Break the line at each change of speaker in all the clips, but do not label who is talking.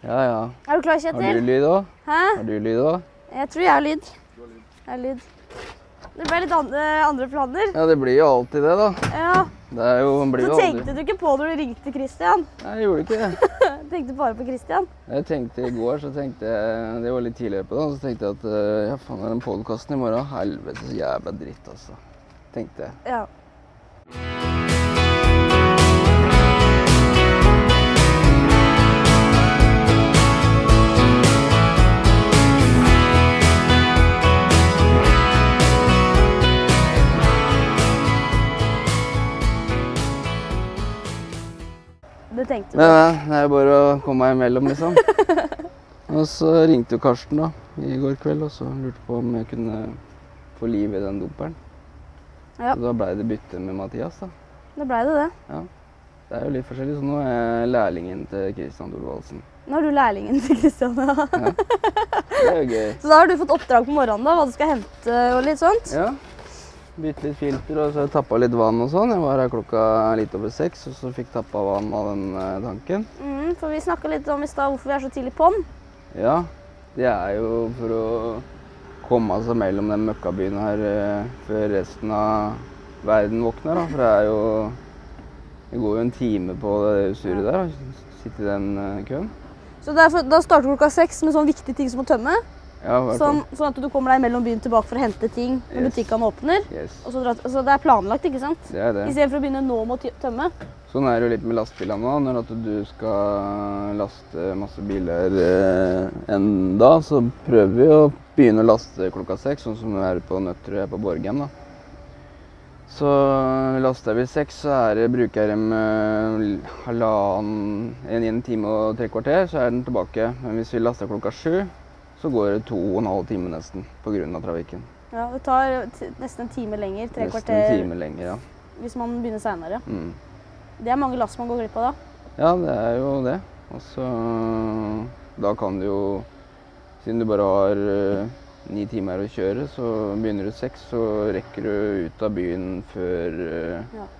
Ja, ja.
Er du klar,
Har du
Kjetil?
lyd òg?
Hæ?
Har du lyd òg?
Jeg tror jeg har lyd. Jeg har lyd. Det ble litt an eh, andre planer.
Ja, det blir jo alltid det, da.
Ja,
Det er jo, blir
Så
jo aldri
tenkte du ikke på når du ringte Christian.
Nei, jeg gjorde ikke det.
Tenkte bare på Christian.
Jeg tenkte i går, så tenkte jeg Det var litt tidligere på dagen, så tenkte jeg at eh, ja, faen, er den podkasten i morgen? Helvete, så jævla dritt, altså. Tenkte jeg.
Ja. Det tenkte du.
Men eh, det er jo bare å komme meg imellom, liksom. Og så ringte jo Karsten da, i går kveld og så lurte på om jeg kunne få liv i den dumperen.
Ja.
Så da blei det bytte med Mathias, da.
Da blei det det.
Det er jo litt forskjellig, så nå er jeg lærlingen til Kristian Thorvaldsen.
Nå er du lærlingen til Christian. Ja.
Det er jo gøy.
Så da har du fått oppdrag på morgenen, da, hva du skal hente og litt sånt?
Ja. Bytte litt filter, og så tappa litt vann og sånn. Jeg var her klokka litt over seks, og så fikk tappa vann av den eh, tanken.
Mm, for vi snakka litt om i stad hvorfor vi er så tidlig på'n.
Ja, det er jo for å komme seg mellom den møkkabyen her eh, før resten av verden våkner, da. For det er jo Det går jo en time på det surret der, å sitte i den eh, køen.
Så derfor, da starter klokka seks med sånn viktige ting som å tømme.
Ja, i hvert
Sånn,
fall.
sånn at du kommer deg mellom byen tilbake for å hente ting når
Yes.
butikkene åpner.
Yes.
Og så, dra, så det er planlagt, ikke sant?
Det er det.
Istedenfor å begynne nå med å ty- tømme.
Sånn er det jo litt med lastebilene nå. Når at du skal laste masse biler eh, en dag, så prøver vi å begynne å laste klokka seks, sånn som vi er på Nøtterøy her på Borgen. da. Så laster vi seks, så er det, bruker jeg dem eh, halvannen en, en time og tre kvarter, så er den tilbake. Men hvis vi laster klokka sju, så går det to og en halv time nesten pga. trafikken.
Ja, Det tar t nesten en time lenger. Tre
Nesten en
kvarter
time lenger, ja.
hvis man begynner seinere.
Mm.
Det er mange lass man går glipp av da.
Ja, det er jo det. Og så Da kan du jo Siden du bare har eh, ni timer å kjøre, så begynner du seks, så rekker du ut av byen før eh,
Ja.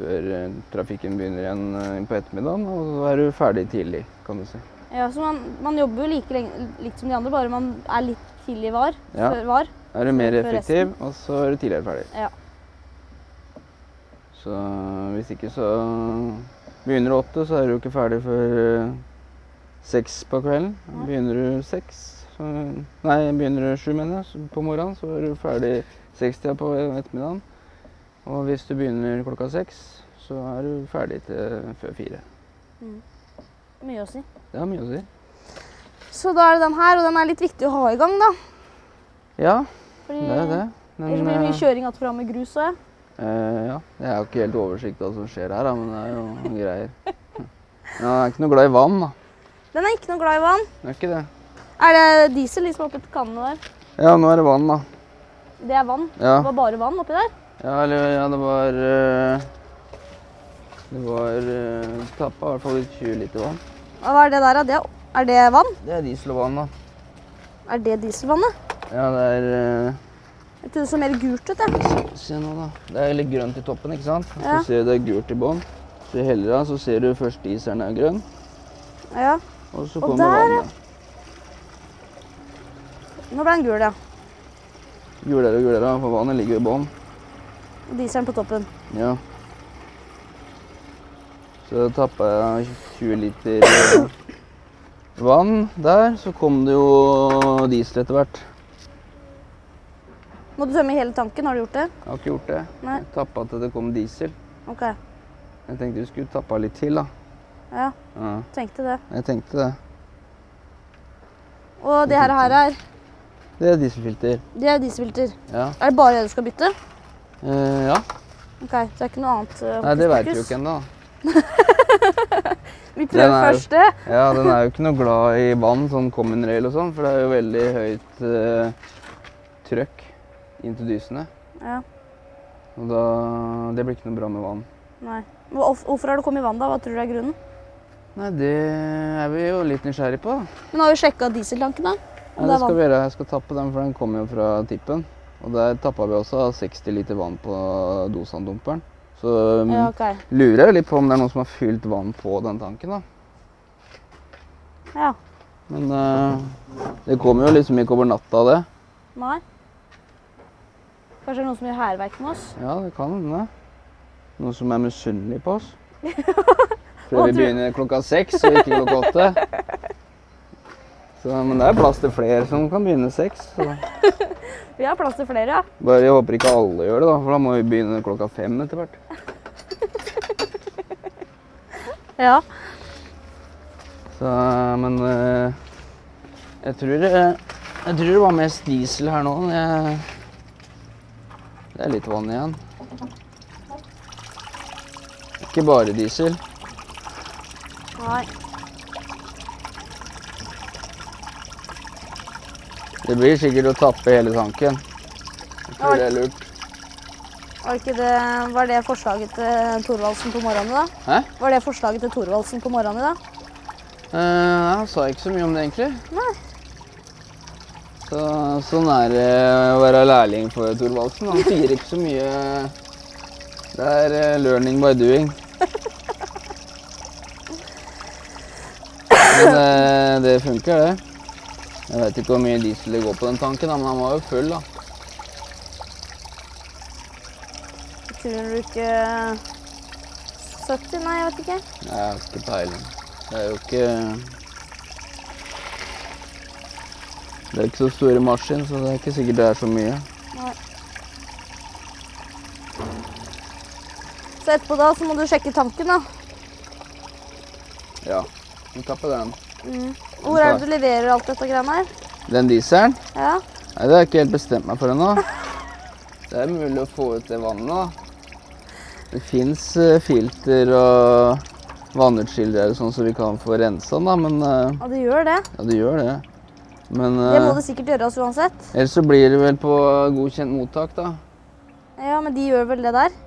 Før eh, trafikken begynner igjen eh, på ettermiddagen, og så er du ferdig tidlig, kan du si.
Ja, så Man, man jobber jo like lenge likt som de andre, bare man er litt tidlig var.
Ja.
Før var.
Da er du mer
Før
effektiv, og så er du tidligere ferdig.
Ja.
Så eh, hvis ikke, så eh, Begynner du åtte, så er du jo ikke ferdig før eh, seks på kvelden.
Nei.
Begynner du seks så, Nei, begynner du sju, mener jeg, så på morgenen, så er du ferdig sekstida på ettermiddagen. Og hvis du begynner klokka seks, så er du ferdig til før fire.
Mye å si.
Det har mye å si.
Så da er det den her, og den er litt viktig å ha i gang, da.
Ja,
Fordi,
det er det. Men,
Ellers blir
eh,
det mye kjøring att og fram med grus òg.
Eh, ja. Jeg har jo ikke helt oversikt over hva som skjer her, da, men det er jo noen greier. Men han er ikke noe glad i vann, da.
Den er ikke noe glad i vann.
Han er ikke det.
Er det diesel liksom oppi kannene der?
Ja, nå er det vann, da.
Det er vann.
Ja,
Det var bare vann oppi der.
ja, eller, ja det var eh, Det var uh, tappa i hvert fall ut 20 liter vann.
Og Hva er det der? da? Det er, er det vann?
Det er diesel og vann, da.
Er det dieselvannet?
Ja, det er eh,
Jeg trodde det så mer gult ut. jeg.
Se nå, da. Det er litt grønt i toppen, ikke sant? Så
Ja.
ser du det er gult i bånn. Så du heller av, så ser du først dieselen er grønn,
Ja.
og så
Og
kommer
der, ja.
vannet.
Nå ble den gul, ja.
Gulere og gulere, for vannet ligger i bånn.
Og Dieselen på toppen.
Ja. Så tappa jeg 20 liter eh, vann der. Så kom det jo diesel etter hvert.
Må du tømme hele tanken? Har du gjort det?
Jeg har ikke gjort det.
Nei.
Jeg tappa til det kom diesel.
OK.
Jeg tenkte vi skulle tappa litt til, da.
Ja,
Ja,
tenkte det.
jeg tenkte det.
Og det her, her er
Det er dieselfilter.
Det er dieselfilter.
Ja.
Er det bare det du skal bytte?
Eh, ja.
OK, så det er ikke noe annet eh,
Nei, det
hokus
veit
pokus.
vi jo ikke ennå. da.
Vi
Den
prøver
er jo-
først det.
Ja, den er jo ikke noe glad i vann, sånn common rail og sånn, for det er jo veldig høyt eh, trøkk inn til dysene.
Ja.
Og da Det blir ikke noe bra med vann.
Nei. Hvor- of- Hvorfor har det kommet i vann, da? Hva tror du er grunnen?
Nei, det er vi jo litt nysgjerrig på. da.
Men har vi sjekka dieseltanken, da?
Ja,
Om det
det
er
skal
vann?
vi gjøre. Jeg skal tappe den, for den kommer jo fra tippen. Og der tappa vi også 60 liter vann på dosandumperen. Så um,
Ja, OK.
lurer jeg litt på om det er noen som har fylt vann på den tanken, da.
Ja.
Men eh, det kommer jo liksom ikke over natta, det.
Nei. Kanskje det er noen som gjør hærverk med oss?
Ja, det kan hende. Noen som er misunnelig på oss.
Hva
Før vi
tror-
begynner klokka seks og ikke klokka åtte. Så, men det er plass til flere som kan begynne seks. Så.
Vi har plass til flere, ja.
Bare jeg håper ikke alle gjør det, da, for da må vi begynne klokka fem etter hvert.
Ja.
Så, men eh, jeg, tror, eh, jeg tror det var mest diesel her nå. Jeg, det er litt vann igjen. Ikke bare diesel.
Nei.
Det blir sikkert å tappe hele tanken. Jeg tror det er lurt.
Var, ikke det, var det forslaget til Thorvaldsen på morgenen i dag?
Hæ?
Var det forslaget til Thorvaldsen på morgenen i dag?
Eh, nei, han sa ikke så mye om det, egentlig.
Nei.
Så, sånn er det å være lærling for Thorvaldsen. Han sier ikke så mye. Det er eh, learning by doing. Men eh, det funker, det. Jeg veit ikke hvor mye diesel det går på den tanken, da, men han var jo full, da.
Jeg tror du ikke 70? Nei, jeg vet ikke.
Jeg har ikke peiling. Det er jo ikke Det er ikke så store maskin, så det er ikke sikkert det er så mye.
Nei. Så etterpå da så må du sjekke tanken, da.
Ja. Vi tapper den.
Mm. Hvor er det du leverer alt dette greiene her?
Den dieselen?
Ja.
Nei, det har jeg ikke helt bestemt meg for ennå. Det er mulig å få ut det vannet, da. Det fins filter og vannutskillere og sånn, så vi kan få rensa den, da. Men eh,
Ja, du gjør det.
ja, det gjør det. Men
Det må
eh,
du sikkert gjøre oss uansett.
ellers så blir det vel på godkjent mottak, da.
Ja, men de gjør vel det der?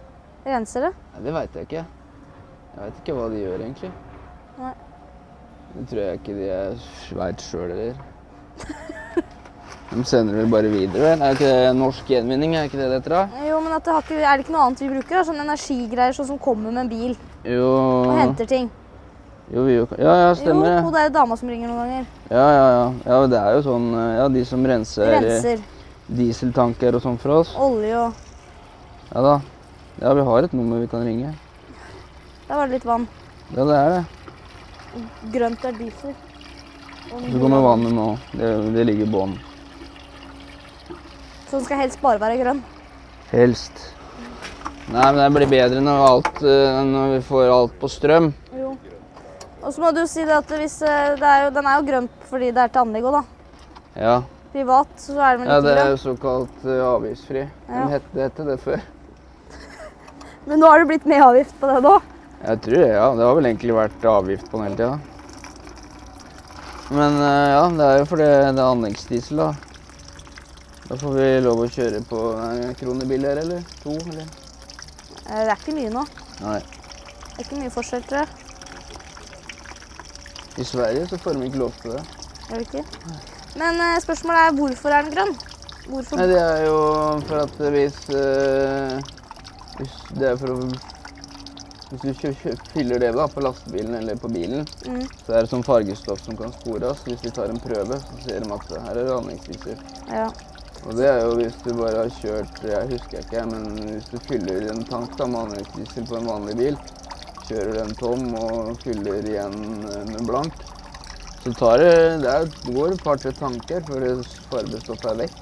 Renser det?
Nei, det veit jeg ikke. Jeg veit ikke hva de gjør, egentlig.
Nei.
Det tror jeg ikke de veit sjøl heller. De sender vel bare videre, vel? Er ikke det norsk gjenvinning? Er ikke det det heter? da?
Jo, men at det har ikke, er det ikke noe annet vi bruker? da? Sånn energigreier sånn som kommer med en bil
Jo
og henter ting.
Jo, vi jo Ja, ja,
Jo,
stemmer
og
det.
det er jo dama som ringer noen ganger.
Ja, ja, ja. ja, det er jo sånn eh, Ja, de som renser, eh,
Renser
dieseltanker og sånn for oss.
olje og
Ja da. Ja, vi har et nummer vi kan ringe.
Der var det litt vann.
Ja, det er det.
Grønt er diesel. Og
Så kommer vannet nå. Det, det ligger i bånn.
Så den skal helst bare være grønn.
Helst. Nei, men det blir bedre når, alt, eh, når vi får alt på strøm.
Jo. Og så må du si det at hvis eh, det er jo, Den er jo grønn fordi det er til anlegg òg, da.
Ja.
Privat, så er den vel
ja
ikke
det er
grønn.
jo såkalt eh, avgiftsfri.
Ja.
Men het, det het det før.
Men nå har det blitt med avgift på det nå.
Jeg tror det, ja. Det har vel egentlig vært avgift på den hele tida. Men eh, ja, det er jo fordi det er anleggsdiesel, da. Da får vi lov å kjøre på eh, en krone billigere, eller to, eller?
Eh, Det er ikke mye nå.
Nei.
Det er ikke mye forskjell, tror jeg.
I Sverige så får de ikke lov til det.
Er det ikke? Men eh, spørsmålet er hvorfor er den grønn? Hvorfor?
Nei, det er jo for at hvis, eh, hvis Det er for å Hvis du kjø, kjø, fyller det da på lastebilen eller på bilen,
Mm,
så er det sånn fargestoff som kan spores. Hvis de tar en prøve, så ser de at her er det anleggsdiesel.
ja.
Og det er jo hvis du bare har kjørt Jeg husker ikke, men hvis du fyller en tank da, med anleggsdiesel på en vanlig bil, kjører den tom og fyller igjen eh, med blank, så tar det, det er, det går et par-tre tanker før det fargestoffet er vekk.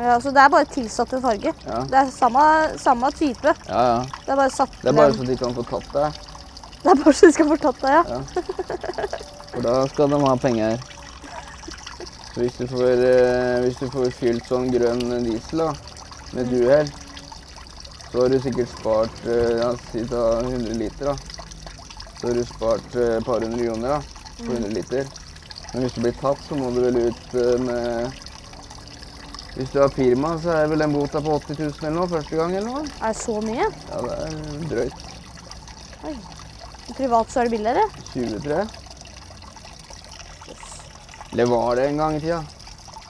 ja, Så det er bare tilsatt en farge.
Ja,
Det er samme, samme type.
ja. ja.
Det er bare satt
Det er bare
den-
så de kan få tatt deg,
det er bare så du skal få tatt det, ja.
for da skal de ha penger. Så hvis du får, eh, hvis du får fylt sånn grønn diesel da, med et uhell, så har du sikkert spart eh, ja, si ta 100 liter. da. Så har du spart eh, et par hundre kroner da, på 100 liter. Men hvis du blir tatt, så må du vel ut eh, med Hvis du har firma, så er vel den bota på 80 000 eller noe første gang? eller noe?
Er det så mye?
Ja, det er drøyt.
Privat så er det billigere.
23. Eller var det en gang i tida?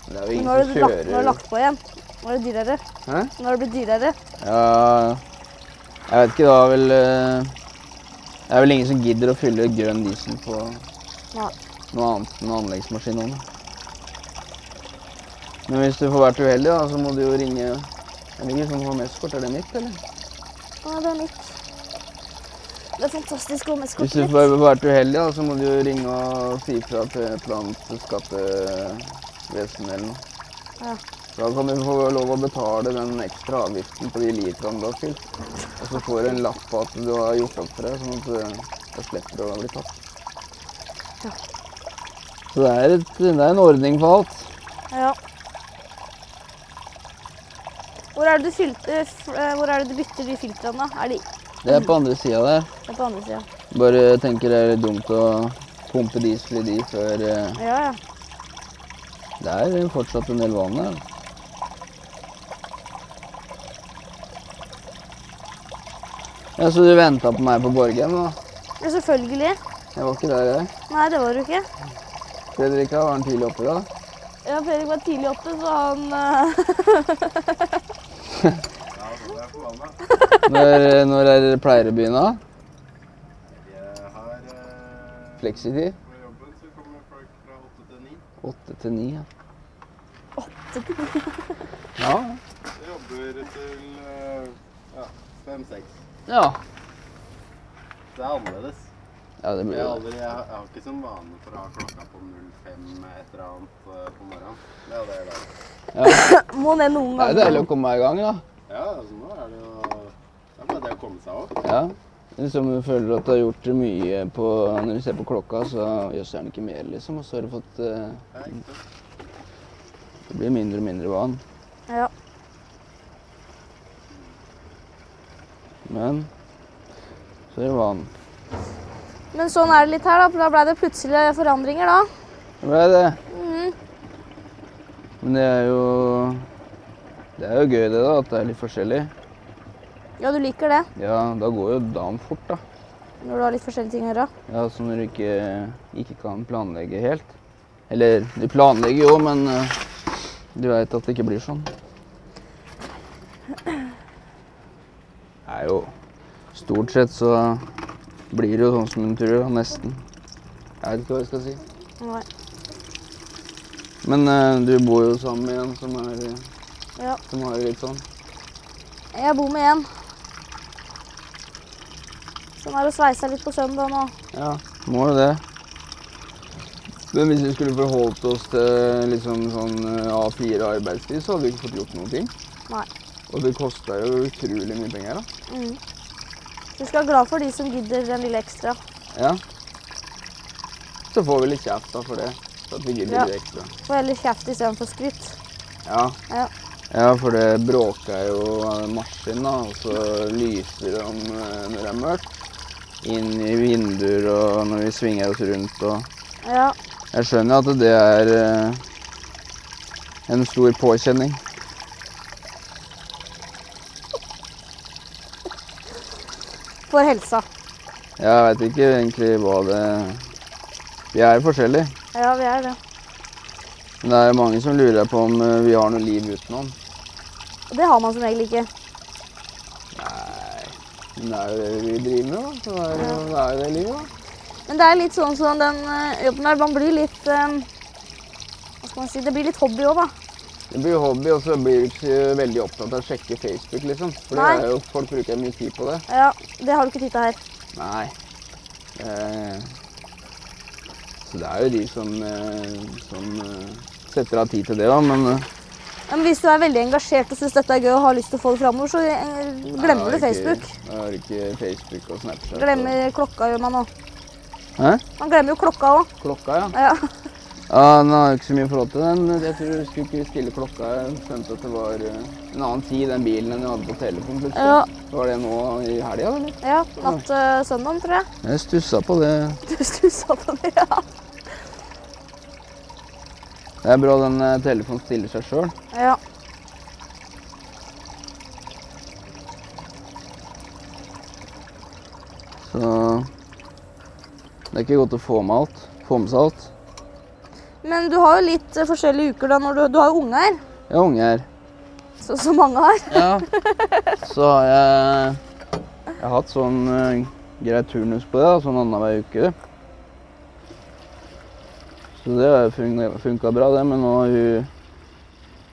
Det er jo
Men
ingen
nå har
som
du lagt, nå har
kjører
du lagt på igjen. Nå er det dyrere.
Hæ?
Nå har det blitt dyrere.
Ja Jeg vet ikke, det var vel eh, Det er vel ingen som gidder å fylle grønn diesel på
Nei.
noe annet enn anleggsmaskin òg. Men hvis du får vært uheldig, da, så må du jo ringe Jeg vet ikke hvem som har mest kort, er det mitt, eller?
Nei, det er mitt. Det er fantastisk å ha
Hvis du
meskopp.
får vært uheldig, da, så må du jo ringe og si fra til et eller annet skattevesen eller noe.
Ja.
Da kan du få lov å betale den ekstra avgiften på de literne du har fylt. Og så får du en lapp på at du har gjort opp for det, sånn at eh, da slipper du å bli tatt.
Ja.
Så det er, et, det er en ordning for alt.
Ja. Hvor er det du, filter, f- eh, hvor er det du bytter de filtrene? da? Er de
Det er på andre sida der.
det er på andre sida?
Bare tenker det er litt dumt å pumpe diesel i de før eh,
Ja, ja.
Det er fortsatt en del vann her. Ja, Så du venta på meg på Borgen, da?
Ja, selvfølgelig.
Jeg var ikke der, jeg.
Nei, det var du ikke.
Fredrika var han tidlig oppe da.
Ja, Fredrik var tidlig oppe, så han eh,
Ja, nå er jeg forbanna.
Når, når er pleier å begynne?
Jeg har eh,
Fleksitid?
På jobben så kommer folk fra åtte til ni.
Åtte til ni, ja. Ja.
Så jobber til eh, ja, fem-seks.
Ja,
Det er annerledes.
ja det
Jeg,
blir jo
har
det.
aldri, jeg, har- jeg har ikke som vane for å ha klokka på 05 et eller annet eh, på morgenen. Det er det jeg lager.
må ned
Det er
noen
jo
ganger.
deilig å komme i gang, da.
Ja, altså nå er det jo Det er bare det å komme seg opp.
Ja. Liksom du føler at du har gjort mye på Når du ser på klokka, så jøss, er den ikke mer, liksom. Og så har du fått eh,
Ja, ikke sant?
Det blir mindre og mindre vann.
Ja.
Men så er det vann.
Men sånn er det litt her, da. for Da ble det plutselig forandringer, da.
Det ble det.
Mhm.
Men det er jo Det er jo gøy, det, da. At det er litt forskjellig.
Ja, du liker det
Ja, da går jo dagen fort, da.
når du har litt forskjellige ting å gjøre.
Ja, så når du ikke, ikke kan planlegge helt. Eller du planlegger jo, men eh, du veit at det ikke blir sånn. Det er jo Stort sett så blir det jo sånn som du tror, da, nesten. Jeg vet ikke hva jeg skal si.
Nei.
Men eh, du bor jo sammen med en som, er,
Ja.
som har det litt sånn.
Jeg bor med en. Som er og sveiser litt på søndag nå.
Ja, må jo det. Men hvis vi skulle forholdt oss til liksom sånn eh, A4 arbeidstid, så hadde vi ikke fått gjort noen ting.
Nei.
Og det kosta jo utrolig mye penger, da.
Mhm. Du skal være glad for de som gidder den lille ekstra.
Ja. Så får vi litt kjeft da for det. For at vi gidder
Ja.
litt ekstra.
Får heller kjeft istedenfor skryt.
Ja.
Ja.
Ja, for det bråker jo av den maskinen, da, og så lyser det om eh, når det er mørkt. Inn i vinduer og når vi svinger oss rundt og
Ja.
Jeg skjønner at det er eh, en stor påkjenning.
For helsa.
Jeg veit ikke egentlig hva det Vi er forskjellige.
Ja, vi er det.
Men det er mange som lurer på om eh, vi har noe liv utenom.
Og det har man som regel ikke.
Nei, men det er jo det vi driver med, da. Så det er jo det, er jo det livet, da.
Men det er litt sånn som den eh, jobben der. Man blir litt eh, Hva skal man si? Det blir litt hobby òg, da.
Det blir hobby, og så blir du ikke veldig opptatt av å sjekke Facebook, liksom. For det
Nei.
er jo, folk bruker mye tid på det.
Ja, Det har du ikke tid til her.
Nei. Eh, så det er jo de som, eh, som eh, setter av tid til det, da. Men eh,
Men hvis du er veldig engasjert og syns dette er gøy og har lyst til å få det framover, så eh, glemmer
Jeg
du
har
Facebook.
Ikke, jeg har ikke Facebook og Snapchat.
Glemmer klokka, gjør man òg.
Og... Hæ?
Man glemmer jo klokka òg.
Klokka, ja.
Ja.
Ja, Nå har jeg ikke så mye forhold til den. men Jeg tror jeg skulle ikke stille klokka. Jeg skjønte at det var eh, en annen tid i den bilen enn jeg hadde på telefonen. plutselig.
Ja.
Var det nå i helga, eller?
ja natt uh, søndag, tror jeg.
Jeg stussa på det.
Du stussa på det, ja.
Det er bra den eh, telefonen stiller seg sjøl.
ja.
Så det er ikke godt å få med alt. Få med seg alt.
Men du har jo litt eh, forskjellige uker da når du, du har jo unge her,
Jeg har unge her.
så, så mange har.
Ja. Så har jeg, jeg har hatt sånn eh, grei turnus på det, da, sånn annenhver uke. Så det funka bra, det. Men nå har hun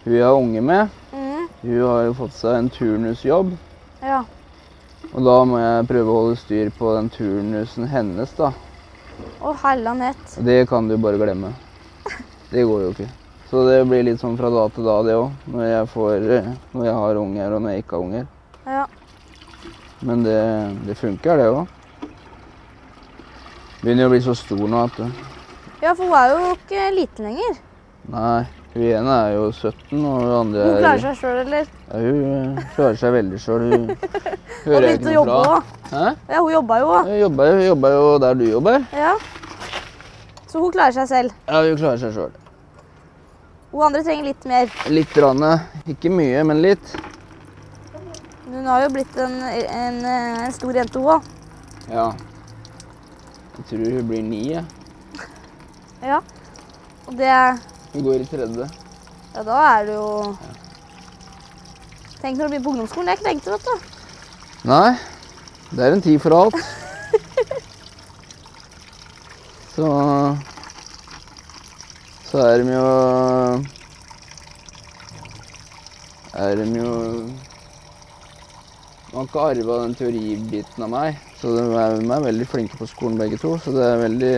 Hun jeg har unge med,
Mm.
hun har jo fått seg en turnusjobb.
Ja.
Og da må jeg prøve å holde styr på den turnusen hennes, da.
Å, hellanett.
Og det kan du bare glemme. Det går jo ikke. Så det blir litt sånn fra da til da, det òg. Når, jeg får, eh, når jeg har unger, og når jeg ikke har unger.
Ja.
Men det, det funker, det òg. Begynner jo å bli så stor nå at eh,
ja, for hun er jo ikke liten lenger.
Nei. Hun ene er jo 17, og hun andre
Hun
er
klarer seg sjøl, eller?
Ja, hun eh, klarer seg veldig sjøl. Hun
Hun
hører jeg
begynte
ikke
å
noe
jobbe
fra.
òg.
Hæ?
Ja, hun jobba jo òg.
Hun jobber, hun jobber jo der du jobber.
Ja. Så hun klarer seg selv.
Ja, hun klarer seg sjøl.
Hun andre trenger litt mer.
Litt. Rann, ikke mye, men litt.
Hun har jo blitt en, en, eh, en stor jente, hun òg.
Ja. Jeg tror hun blir ni. jeg.
Ja. Og det Ja,
Hun går i tredje.
da er det jo Tenk når du begynner på ungdomsskolen. Det er ikke tenkt, vet du.
Nei, det er en tid for alt. Så Så er de jo Er de jo Man har ikke arva den teoribiten av meg, så de er, de er veldig flinke på skolen begge to. Så det er veldig,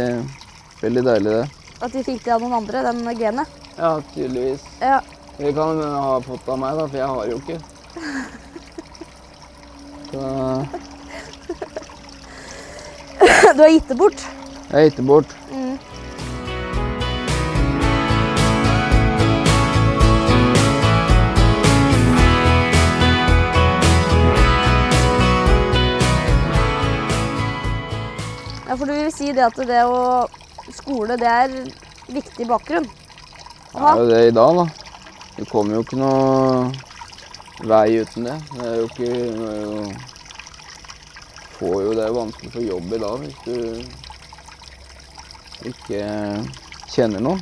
veldig deilig, det.
At de fikk det av noen andre, den genet.
Ja, tydeligvis.
Ja.
Det kan hun ha fått av meg, da, for jeg har jo ikke. Så
Du har gitt det bort.
Jeg gikk det bort.
Mm. Ja, for du vil si det at det å skole, det er viktig bakgrunn.
Det er jo det i dag, da. Det kommer jo ikke noe vei uten det. Det er jo ikke det er jo, får jo, det er jo vanskelig for jobb i dag hvis du ikke kjenner noen.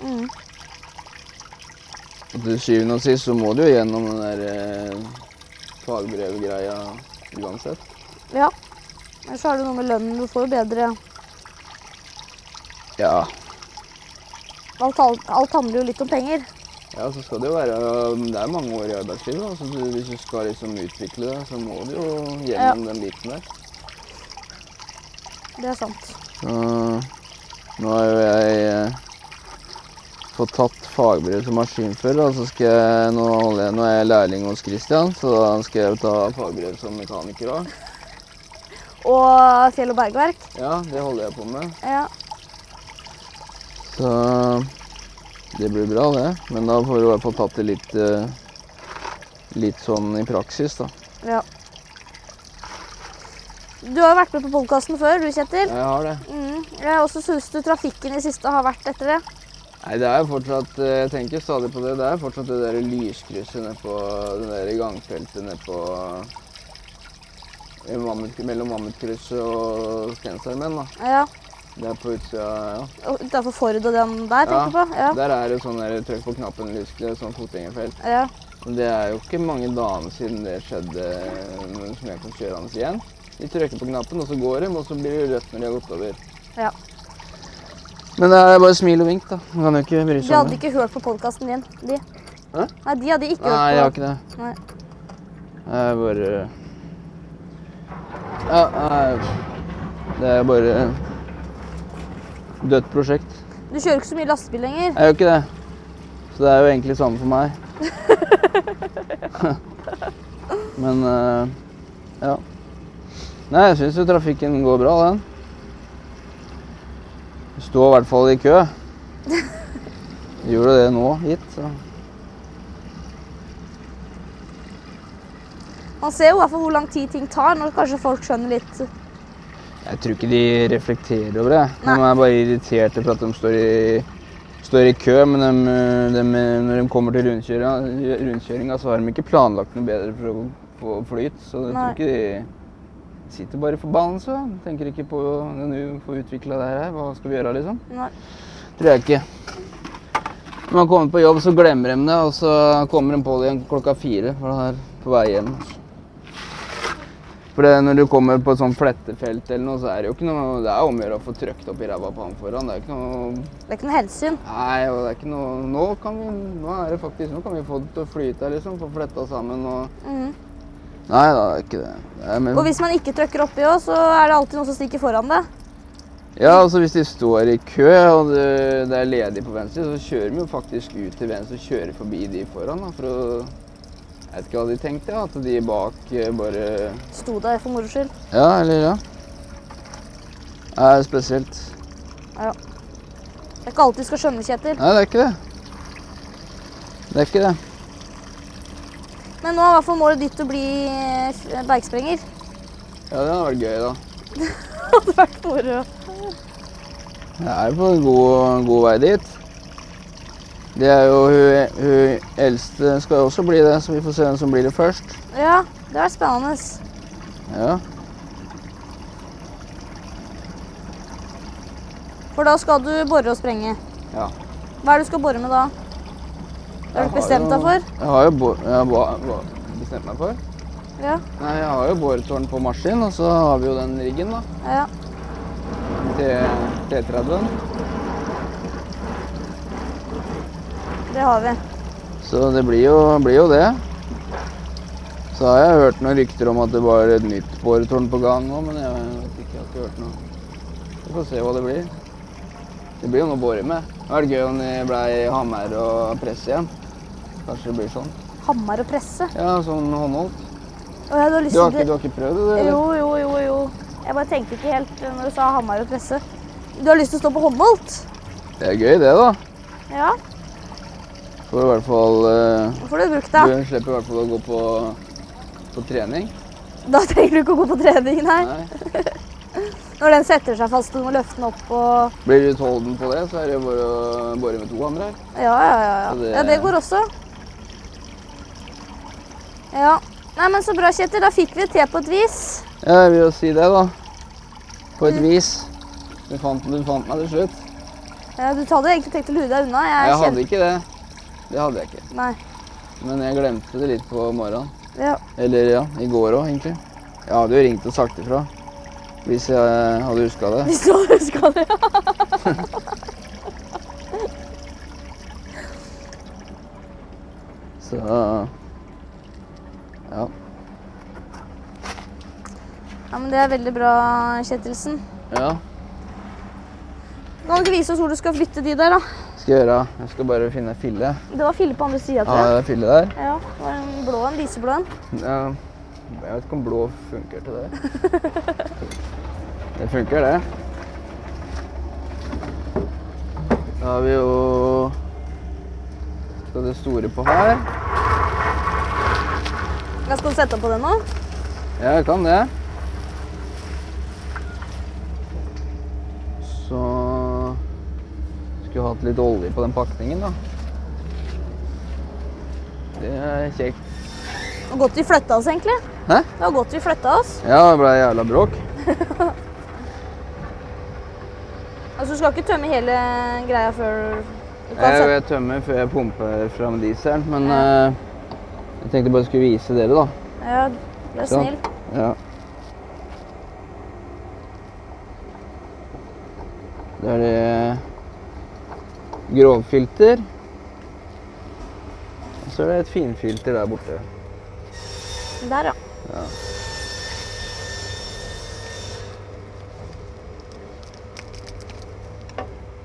Mm.
Og til syvende og sist så må du jo gjennom den der eh, fagbrevgreia uansett.
Ja. Men så har du noe med lønnen. Du får jo bedre
Ja.
Alt, alt alt handler jo litt om penger.
ja, så skal det jo være um, Det er mange år i arbeidslivet, da, så du, hvis du skal liksom utvikle deg, så må du jo gjennom den biten der.
Det er sant.
Så nå har jo jeg eh, fått tatt fagbrev som maskinfører. Og så skal jeg, nå, holder jeg, nå er jeg lærling hos Christian, så da skal jeg ta fagbrev som mekaniker òg.
Og fjell og bergverk.
Ja, det holder jeg på med.
Ja.
Så det blir bra, det. Men da får du i hvert fall tatt det litt, eh, litt sånn i praksis, da.
Ja. Du har jo vært med på podkasten før, du Kjetil.
Jeg har det.
Mm. Jeg også syns du trafikken i siste har vært etter det.
Nei, det er jo fortsatt eh, Jeg tenker stadig på det. Det er fortsatt det der lyskrysset nede på det der gangfeltet nede på i Mammut, Mellom Mammutkrysset og Stensarmen, da.
Ja.
Det er på utsida, ja.
og Utenfor Ford og den der, tenker du på? Ja.
Der er det sånn der trykk på knappen-lyskryss, sånn fotgjengerfelt.
ja.
Men det er jo ikke mange dagene siden det skjedde noen som jeg kom kjørende igjen. De trykker på knappen, og så går de, og så blir det rødt når de har gått over.
Ja.
Men det er bare smil og vink, da. Man kan jo ikke bry
De
seg om
hadde
det.
ikke hørt på podkasten din, de.
Hæ?
Nei, de hadde ikke
Nei, jeg har
hørt på.
ikke det.
Nei.
Det er bare Ja, nei, det er bare dødt prosjekt.
Du kjører ikke så mye lastebil lenger.
Jeg gjør ikke det. Så det er jo egentlig samme for meg. Men eh, ja. Nei, jeg syns jo trafikken går bra, den. Det Står i hvert fall i kø. Gjorde det nå, hit. Så.
Man ser jo i hvert fall hvor lang tid ting tar, når kanskje folk skjønner litt
Jeg tror ikke de reflekterer over det. De
Nei.
er bare irriterte for at de står i, står i kø, men de, øh, de, øh, når de kommer til rundkjøringa, rundkjøringa, så har de ikke planlagt noe bedre for å få flyt. Så jeg
Nei.
tror ikke de sitter bare i forbannelse. De Tenker ikke på når de får utvikla det her. Hva skal vi gjøre, liksom?
Nei.
Tror jeg ikke. Når man kommer på jobb, så glemmer de det, og så kommer de på det igjen klokka fire. For det er på vei hjem. altså. For det, når du kommer på et sånt flettefelt eller noe, så er det jo ikke noe Det er om å gjøre å få trøkt opp i ræva på han foran. Det er ikke noe
Det er ikke noe hensyn.
Nei, og det er ikke noe Nå kan vi Nå er det faktisk Nå kan vi få det til å flyte her, liksom. Få fletta sammen og
Mhm.
Nei da, det er ikke det. det er mer...
Og hvis man ikke trykker oppi òg, så er det alltid noen som stikker foran deg.
Ja, altså hvis de står i kø og det, det er ledig på venstre, så kjører de jo faktisk ut til venstre og kjører forbi de foran, da, for å Jeg vet ikke hva de tenkte, ja, at de bak eh, bare
Sto der for moro skyld.
Ja, eller ja. Det er spesielt.
Det er ikke alltid vi skal skjønne, Kjetil.
Nei, det er ikke det. Det er ikke det.
Men nå er i hvert fall målet ditt å bli eh, f- bergsprenger.
Ja, det hadde vært gøy, da.
Det hadde vært moro.
Jeg er på en god, god vei dit. Det er jo hun, hun eldste skal jo også bli det, så vi får se hvem som blir det først.
Ja, det var spennende.
Ja.
For da skal du bore og sprenge.
Ja.
Hva er det du skal bore med da? Det har
Jeg
du ikke bestemt
jo-
deg for?
Jeg har jo bo- jeg har ba- ba- bestemt meg for.
Ja.
Nei, jeg har jo boretårn på maskin, og så har vi jo den riggen, da.
ja.
T- T30-en.
Det har vi.
Så det blir jo, blir jo det. Så har jeg hørt noen rykter om at det var et nytt boretårn på gang nå, men jeg vet ikke, jeg har ikke hørt noe. Vi får se hva det blir. Det blir jo noe å bore med. Det hadde vært gøy om det blei hammer og press igjen. Kanskje det blir sånn.
Hammer og presse.
Ja, sånn håndholdt.
Å, jeg hadde lyst
Du har
til
ikke, du har ikke prøvd det?
Jo,
eller?
jo, jo, jo. Jeg bare tenkte ikke helt eh, når du sa hammer og presse. Du har lyst til å stå på håndholdt?
Det er gøy, det, da.
Ja.
Får i hvert fall eh,
Da får du brukt deg.
Du slipper i hvert fall å gå på, på trening.
Da trenger du ikke å gå på trening, nei.
Nei.
Når den setter seg fast, og du må løfte den opp og
Blir du tolden på det, så er det jo bare å bore med to hamre.
Ja, ja, ja. Ja,
Så det-
ja det går også. Ja. Nei, men så bra, Kjetil. Da fikk vi til på et vis.
Ja, jeg vil jo si det, da. På
Mm.
et vis. Du fant, du fant meg til slutt.
Ja, du hadde egentlig tenkt å lure deg unna. Jeg,
Jeg hadde
kjente-
ikke det. Det hadde jeg ikke.
Nei.
Men jeg glemte det litt på morgenen.
Ja.
Eller ja, i går òg, egentlig. Jeg hadde jo ringt og sagt ifra. Hvis jeg hadde huska det.
Hvis du hadde huska det.
Så Ja.
Ja, men Det er veldig bra, Kjetilsen.
ja.
Kan du ikke vise oss hvor du skal flytte de der, da?
Skal jeg gjøre. Jeg skal bare finne ei fille.
Det var fille på andre sida,
Ja,
tror jeg.
det er fille der.
Ja, det var en blå en. Lyseblå en.
Ja. Jeg vet ikke om blå funker til det. Det funker, det. Da har vi jo Skal det store på her.
Ja, skal du sette opp på den nå?
Ja, jeg kan det. Så Skulle hatt litt olje på den pakningen, da. Det er kjekt.
Det var godt vi flytta oss, egentlig.
Hæ?
Det var godt vi flytta oss.
Ja, det ble jævla bråk.
Altså, Du skal ikke tømme hele greia før du kan
Jeg,
sette
jeg tømmer før jeg pumper fram dieselen, men eh, jeg tenkte bare skulle vise dere, da.
Ja, du er
Sånn.
snill.
Ja. Da er det grovfilter. Og så er det et finfilter der borte.
Der, ja.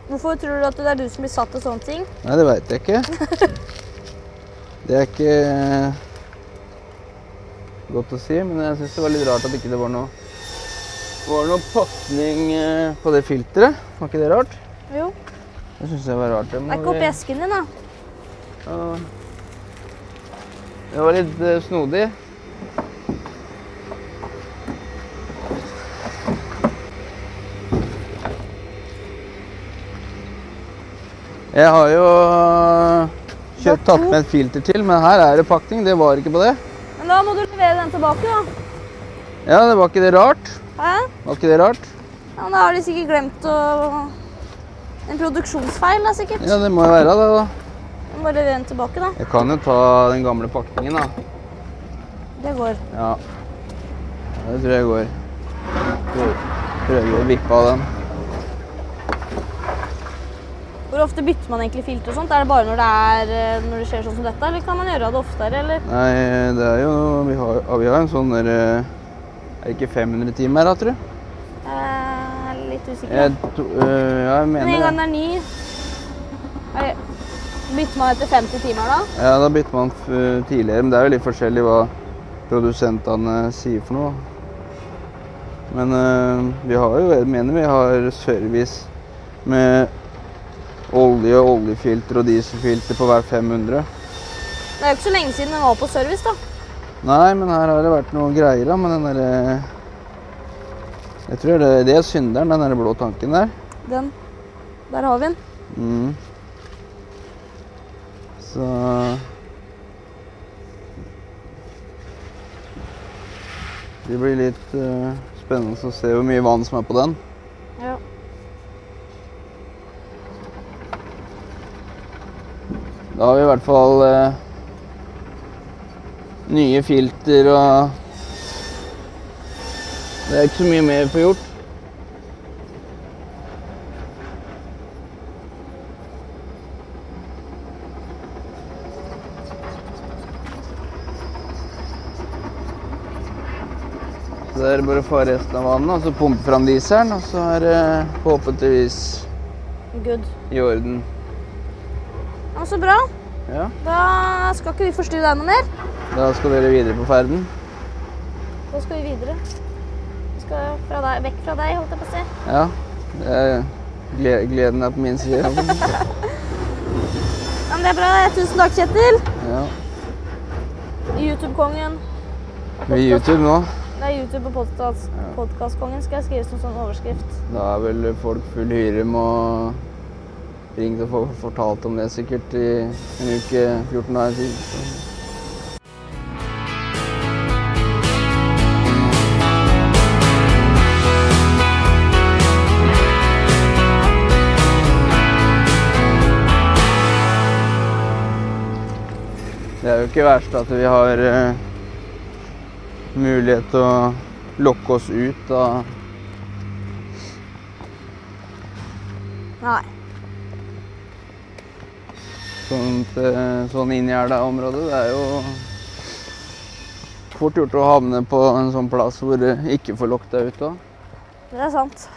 Hvorfor tror du at det er du som blir satt til sånne ting?
Nei, det veit jeg ikke. Det er ikke eh, godt å si, men jeg syns det var litt rart at ikke det var noe Det var noe pakning eh, på det filteret. Var ikke det rart?
Jo.
Det syns jeg var rart. Det,
Det
må
er ikke
vi-
oppi esken din, da.
Ja. Det var litt eh, snodig. Jeg har jo eh, kjøpt, tatt med et filter til, men her er det pakning. Det var ikke på det.
Men da må du levere den tilbake, da.
Ja, det var ikke det rart.
Hæ?
Var ikke det rart?
Ja, men da har de sikkert glemt å En produksjonsfeil, da, sikkert.
Ja, det må jo være det, da.
Du må levere den tilbake, da.
Jeg kan jo ta den gamle pakningen, da.
Det går.
Ja. Det tror jeg går. Prøver å vippe av den.
Hvor ofte bytter man egentlig filter og sånt? Er det bare når det, er, eh, når det skjer sånn som dette, eller kan man gjøre det oftere, eller?
Nei, det er jo Vi har, ja, vi har en sånn der eh, Er det ikke 500 timer her, da, tror du?
Eh, jeg er litt usikker.
Jeg, to, eh, ja, jeg
Men en
mener
gang
det.
det er ny, er det- bytter man etter 50 timer da?
Ja, da bytter man f tidligere, men det er jo litt forskjellig hva produsentene sier for noe. Men eh, vi har jo Jeg mener vi har service med olje, oljefilter og dieselfilter på hver 500.
Det er jo ikke så lenge siden den var på service da.
Nei, men her har det vært noe greier da, med den derre Jeg tror det, det er synderen, den der blå tanken der.
Den, der har vi den.
Mm. Så Det blir litt eh, spennende å se hvor mye vann som er på den.
Ja.
Da har vi i hvert fall eh, nye filter og Det er ikke så mye mer på gjort. Så er det bare å få resten av vannet og så pumpe fram dieselen, og så er det forhåpentligvis
Good.
i orden.
Ja, men så bra.
Ja,
Da skal ikke vi forstyrre deg noe mer.
Da skal dere videre på ferden.
Da skal vi videre. Vi skal fra deg, vekk fra deg, holdt jeg på å si.
Ja. Jeg, gle- gleden er på min side.
Ja, men det er bra. Tusen takk, Kjetil.
Ja.
YouTube-kongen.
Vi er YouTube nå.
Nei, YouTube- og podcast- podcast-kongen skal jeg skrive som sånn overskrift.
Da er vel folk full hyre med å ringe og få fortalt om det sikkert i en uke, 14 dager til. Det er jo ikke verst at vi har eh, mulighet til å lokke oss ut av
Nei.
sånt, eh, sånn inngjerda område. Det er jo fort gjort å havne på en sånn plass hvor det ikke får lukta ut. Da.
Det er sant.